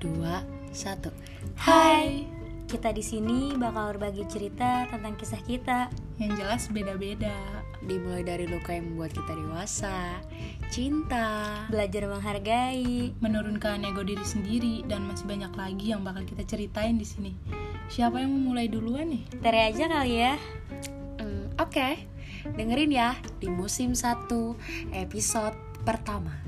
dua, satu. Hai, kita di sini bakal berbagi cerita tentang kisah kita. yang jelas beda-beda. Dimulai dari luka yang membuat kita dewasa, cinta. Belajar menghargai. Menurunkan ego diri sendiri dan masih banyak lagi yang bakal kita ceritain di sini. Siapa yang mau mulai duluan nih? Tere aja kali ya. Hmm, Oke, dengerin ya di musim satu episode pertama.